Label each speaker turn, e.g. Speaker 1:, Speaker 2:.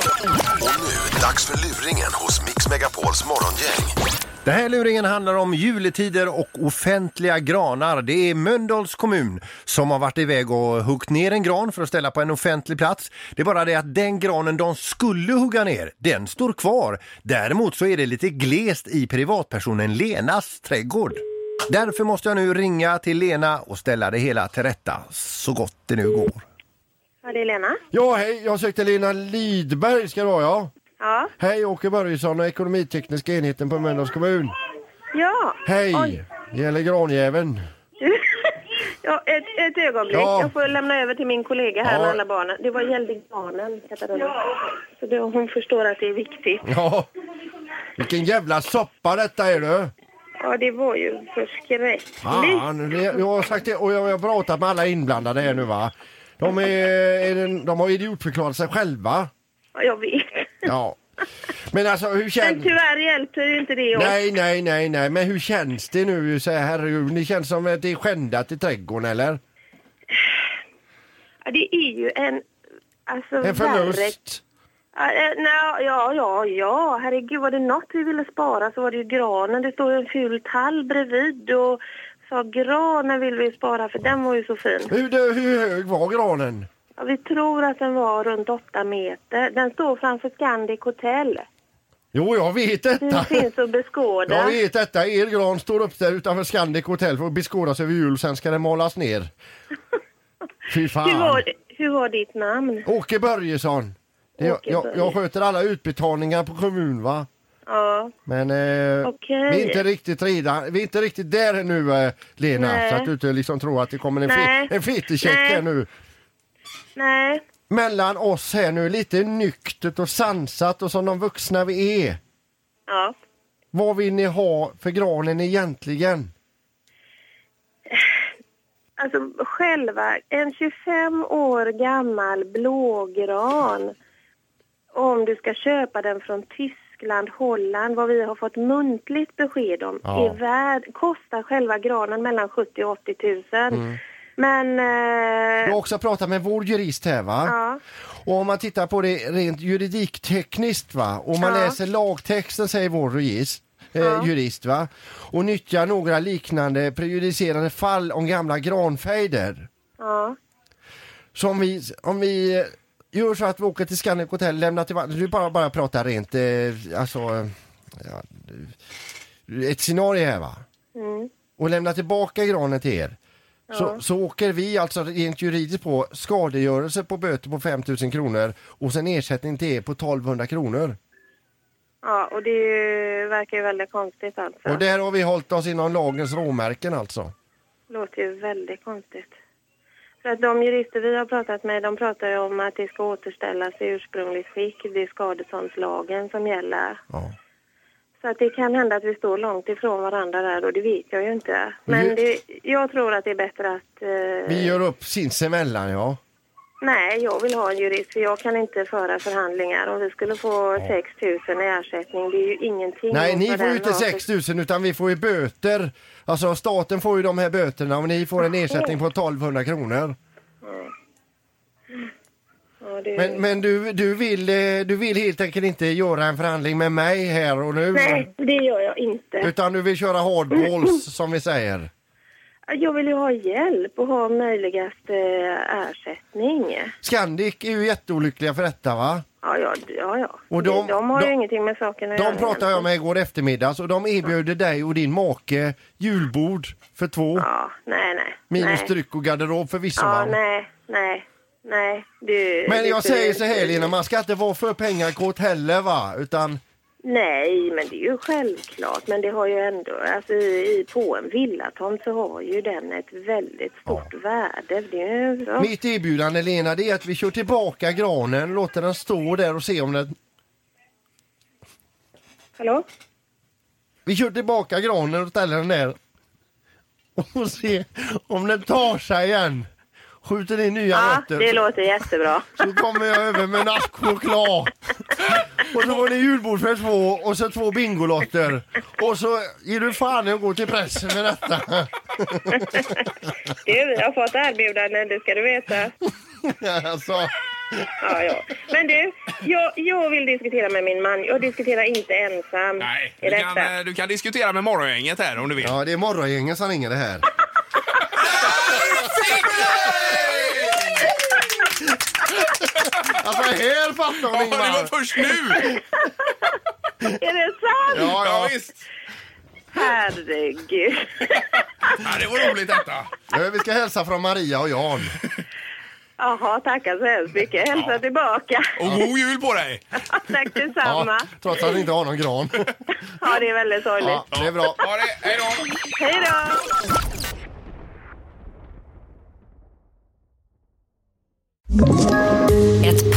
Speaker 1: Och nu, dags för luringen hos Mix Megapols morgongäng.
Speaker 2: Det här luringen handlar om juletider och offentliga granar. Det är Mölndals kommun som har varit iväg och huggt ner en gran för att ställa på en offentlig plats. Det är bara det att den granen de skulle hugga ner, den står kvar. Däremot så är det lite glest i privatpersonen Lenas trädgård. Därför måste jag nu ringa till Lena och ställa det hela till rätta så gott det nu går.
Speaker 3: Ja, det är Lena.
Speaker 4: Ja, hej, jag sökte Lena Lidberg ska det vara ja.
Speaker 3: Ja.
Speaker 4: Hej, Åke Börjesson och ekonomitekniska enheten på Mölndals kommun.
Speaker 3: Ja. Oj.
Speaker 4: Hej! Det gäller granjäveln.
Speaker 3: ja, ett, ett ögonblick.
Speaker 4: Ja.
Speaker 3: Jag får lämna över till min kollega här
Speaker 4: Ja.
Speaker 3: med alla barnen. Det var gällde barnen, Katarina. Så det, hon förstår att det är viktigt.
Speaker 4: Ja, vilken jävla soppa detta är du!
Speaker 3: Ja, det var ju förskräckligt.
Speaker 4: Fan, det, jag har sagt det och jag har pratat med alla inblandade här nu va. De, är, är det, de har idiotförklarat sig själva.
Speaker 3: Ja, Jag vet.
Speaker 4: Ja. Men alltså hur
Speaker 3: Men
Speaker 4: känns...
Speaker 3: tyvärr hjälpte ju inte det. oss.
Speaker 4: Nej, nej, nej, nej, men hur känns det nu? Så här, herregud, det känns som att det är skändat i trädgården eller?
Speaker 3: Ja, Det är ju en... Alltså,
Speaker 4: En
Speaker 3: värre-
Speaker 4: förlust?
Speaker 3: Ja, eh, nej, ja, ja, ja. Herregud, var det något vi ville spara så var det ju granen. Det står ju en ful tall bredvid och sa granen vill vi spara för den var ju så fin.
Speaker 4: Hur, dö- hur hög var granen?
Speaker 3: Ja, vi tror att den var runt åtta meter. Den står framför Scandic Hotel.
Speaker 4: Jo, jag vet
Speaker 3: Den
Speaker 4: detta.
Speaker 3: finns att beskåda.
Speaker 4: Jag vet detta. Er gran står upp där utanför Scandic Hotel för att beskådas över jul, sen ska den malas ner. Fy
Speaker 3: Hur
Speaker 4: fan.
Speaker 3: var, hur var ditt namn?
Speaker 4: Åke Börjesson. Det, jag,
Speaker 3: Åke
Speaker 4: jag,
Speaker 3: Börje.
Speaker 4: jag sköter alla utbetalningar på kommun va.
Speaker 3: Ja,
Speaker 4: Men eh,
Speaker 3: Okej.
Speaker 4: vi, är inte riktigt redan, vi är inte riktigt där nu eh, Lena.
Speaker 3: Nej.
Speaker 4: Så att du inte liksom tror att det kommer en,
Speaker 3: Nej.
Speaker 4: fe- en fittecheck
Speaker 3: Nej.
Speaker 4: här nu.
Speaker 3: nej.
Speaker 4: Mellan oss här nu, lite nyktert och sansat och som de vuxna vi är.
Speaker 3: Ja.
Speaker 4: Vad vill ni ha för granen egentligen?
Speaker 3: Alltså själva, en 25 år gammal blågran. Om du ska köpa den från Tyskland, Holland, vad vi har fått muntligt besked om,
Speaker 4: Ja.
Speaker 3: är värd, kostar själva granen mellan 70 000 och 80 000. Men...
Speaker 4: Jag har
Speaker 3: Eh,
Speaker 4: också pratat med vår jurist här va?
Speaker 3: ja.
Speaker 4: Och om man tittar på det rent juridiktekniskt va? Om man
Speaker 3: Ja.
Speaker 4: läser lagtexten säger vår jurist, eh, jurist va? Och nyttjar några liknande prejudicerande fall om gamla granfejder.
Speaker 3: ja.
Speaker 4: Så om vi, om vi eh, gör så att vi åker till Scandic Hotel, lämnar till Du bara, bara pratar rent, eh, alltså... eh, Ja, eh, ett scenario här va?
Speaker 3: Mm.
Speaker 4: Och lämnar tillbaka granen till er. Så, så åker vi alltså rent juridiskt på skadegörelse på böter på 5 000 kronor och sen ersättning till er på 1200 kronor.
Speaker 3: Ja, och det är ju- verkar ju väldigt konstigt alltså.
Speaker 4: Och där har vi hållit oss inom lagens råmärken alltså.
Speaker 3: låter ju väldigt konstigt. För att de jurister vi har pratat med, de pratar ju om att det ska återställas i ursprungligt skick. Det är skadeståndslagen som gäller.
Speaker 4: Ja.
Speaker 3: Så att det kan hända att vi står långt ifrån varandra där och det vet jag ju inte.
Speaker 4: Men
Speaker 3: Men
Speaker 4: vi-
Speaker 3: det, jag tror att det är bättre att... eh,
Speaker 4: Vi gör upp sinsemellan ja.
Speaker 3: Nej, jag vill ha en jurist för jag kan inte föra förhandlingar. Om vi skulle få 6 000 i ersättning, det är ju ingenting.
Speaker 4: Nej,
Speaker 3: mot
Speaker 4: ni
Speaker 3: vad
Speaker 4: får ju
Speaker 3: den
Speaker 4: inte
Speaker 3: har för-
Speaker 4: 6 000 utan vi får ju böter. Alltså staten får ju de här böterna och ni får en ersättning på 1200 kronor.
Speaker 3: Ja, det...
Speaker 4: Men, men du, du, vill, eh, du vill helt enkelt inte göra en förhandling med mig här och nu.
Speaker 3: Nej, det gör jag inte.
Speaker 4: Utan du vill köra hardballs som vi säger.
Speaker 3: Jag vill ju ha hjälp och ha möjligast eh, ersättning.
Speaker 4: Scandic är ju jätteolyckliga för detta va?
Speaker 3: Ja, ja, ja. ja.
Speaker 4: Och
Speaker 3: de,
Speaker 4: de-
Speaker 3: har ju
Speaker 4: de-
Speaker 3: ingenting med saken att göra.
Speaker 4: De pratade jag med igår eftermiddag och de erbjuder dig och din make julbord för två.
Speaker 3: Ja, nej, nej.
Speaker 4: Minus
Speaker 3: nej.
Speaker 4: dryck och garderob förvisso
Speaker 3: Ja,
Speaker 4: va?
Speaker 3: nej, nej, nej. Du,
Speaker 4: Men
Speaker 3: du
Speaker 4: jag
Speaker 3: skulle-
Speaker 4: säger så här Lena, man ska inte vara för pengakåt heller va? Utan
Speaker 3: Nej, men det är ju självklart. Men det har ju ändå, alltså i, i på en villatomt så har ju den ett väldigt stort värde. Det är ju så.
Speaker 4: Mitt erbjudande Lena det är att vi kör tillbaka granen, låter den stå där och se om den...
Speaker 3: Hallå?
Speaker 4: Vi kör tillbaka granen och ställer den där. Och se om den tar sig igen. Skjuter in nya
Speaker 3: Ja,
Speaker 4: rötter.
Speaker 3: det låter jättebra.
Speaker 4: Så kommer jag över med en ask choklad. Och så var det julbord för två och så två bingolotter. Och så ger du fan i att gå till pressen med detta.
Speaker 3: Du, vi har fått erbjudanden, det ska du veta.
Speaker 4: Alltså,
Speaker 3: Ja, ja. Men du, jag, jag vill diskutera med min man. Jag diskuterar inte ensam.
Speaker 5: Nej,
Speaker 3: I
Speaker 5: du kan,
Speaker 3: detta.
Speaker 5: eh, du kan diskutera med morgongänget här om du vill.
Speaker 2: Ja, det är morgongängen som ringer det här. Alltså här fattar hon
Speaker 5: Ja, det var
Speaker 2: Ingmar!
Speaker 5: först nu!
Speaker 3: Är det sant?
Speaker 2: Ja,
Speaker 5: Ja,
Speaker 2: ja.
Speaker 5: visst.
Speaker 3: Herregud.
Speaker 5: Ja, det var roligt detta.
Speaker 2: Eh, Vi ska hälsa från Maria och Jan.
Speaker 3: Jaha, tackar så hemskt mycket. Hälsa tillbaka.
Speaker 5: Och god jul på dig!
Speaker 3: Tack
Speaker 2: Ja,
Speaker 3: detsamma.
Speaker 2: trots att vi inte har någon gran.
Speaker 3: Ja, det är väldigt sorgligt.
Speaker 2: Ja, det är bra.
Speaker 5: Ha det, hej då!
Speaker 3: Hej då!
Speaker 6: Ett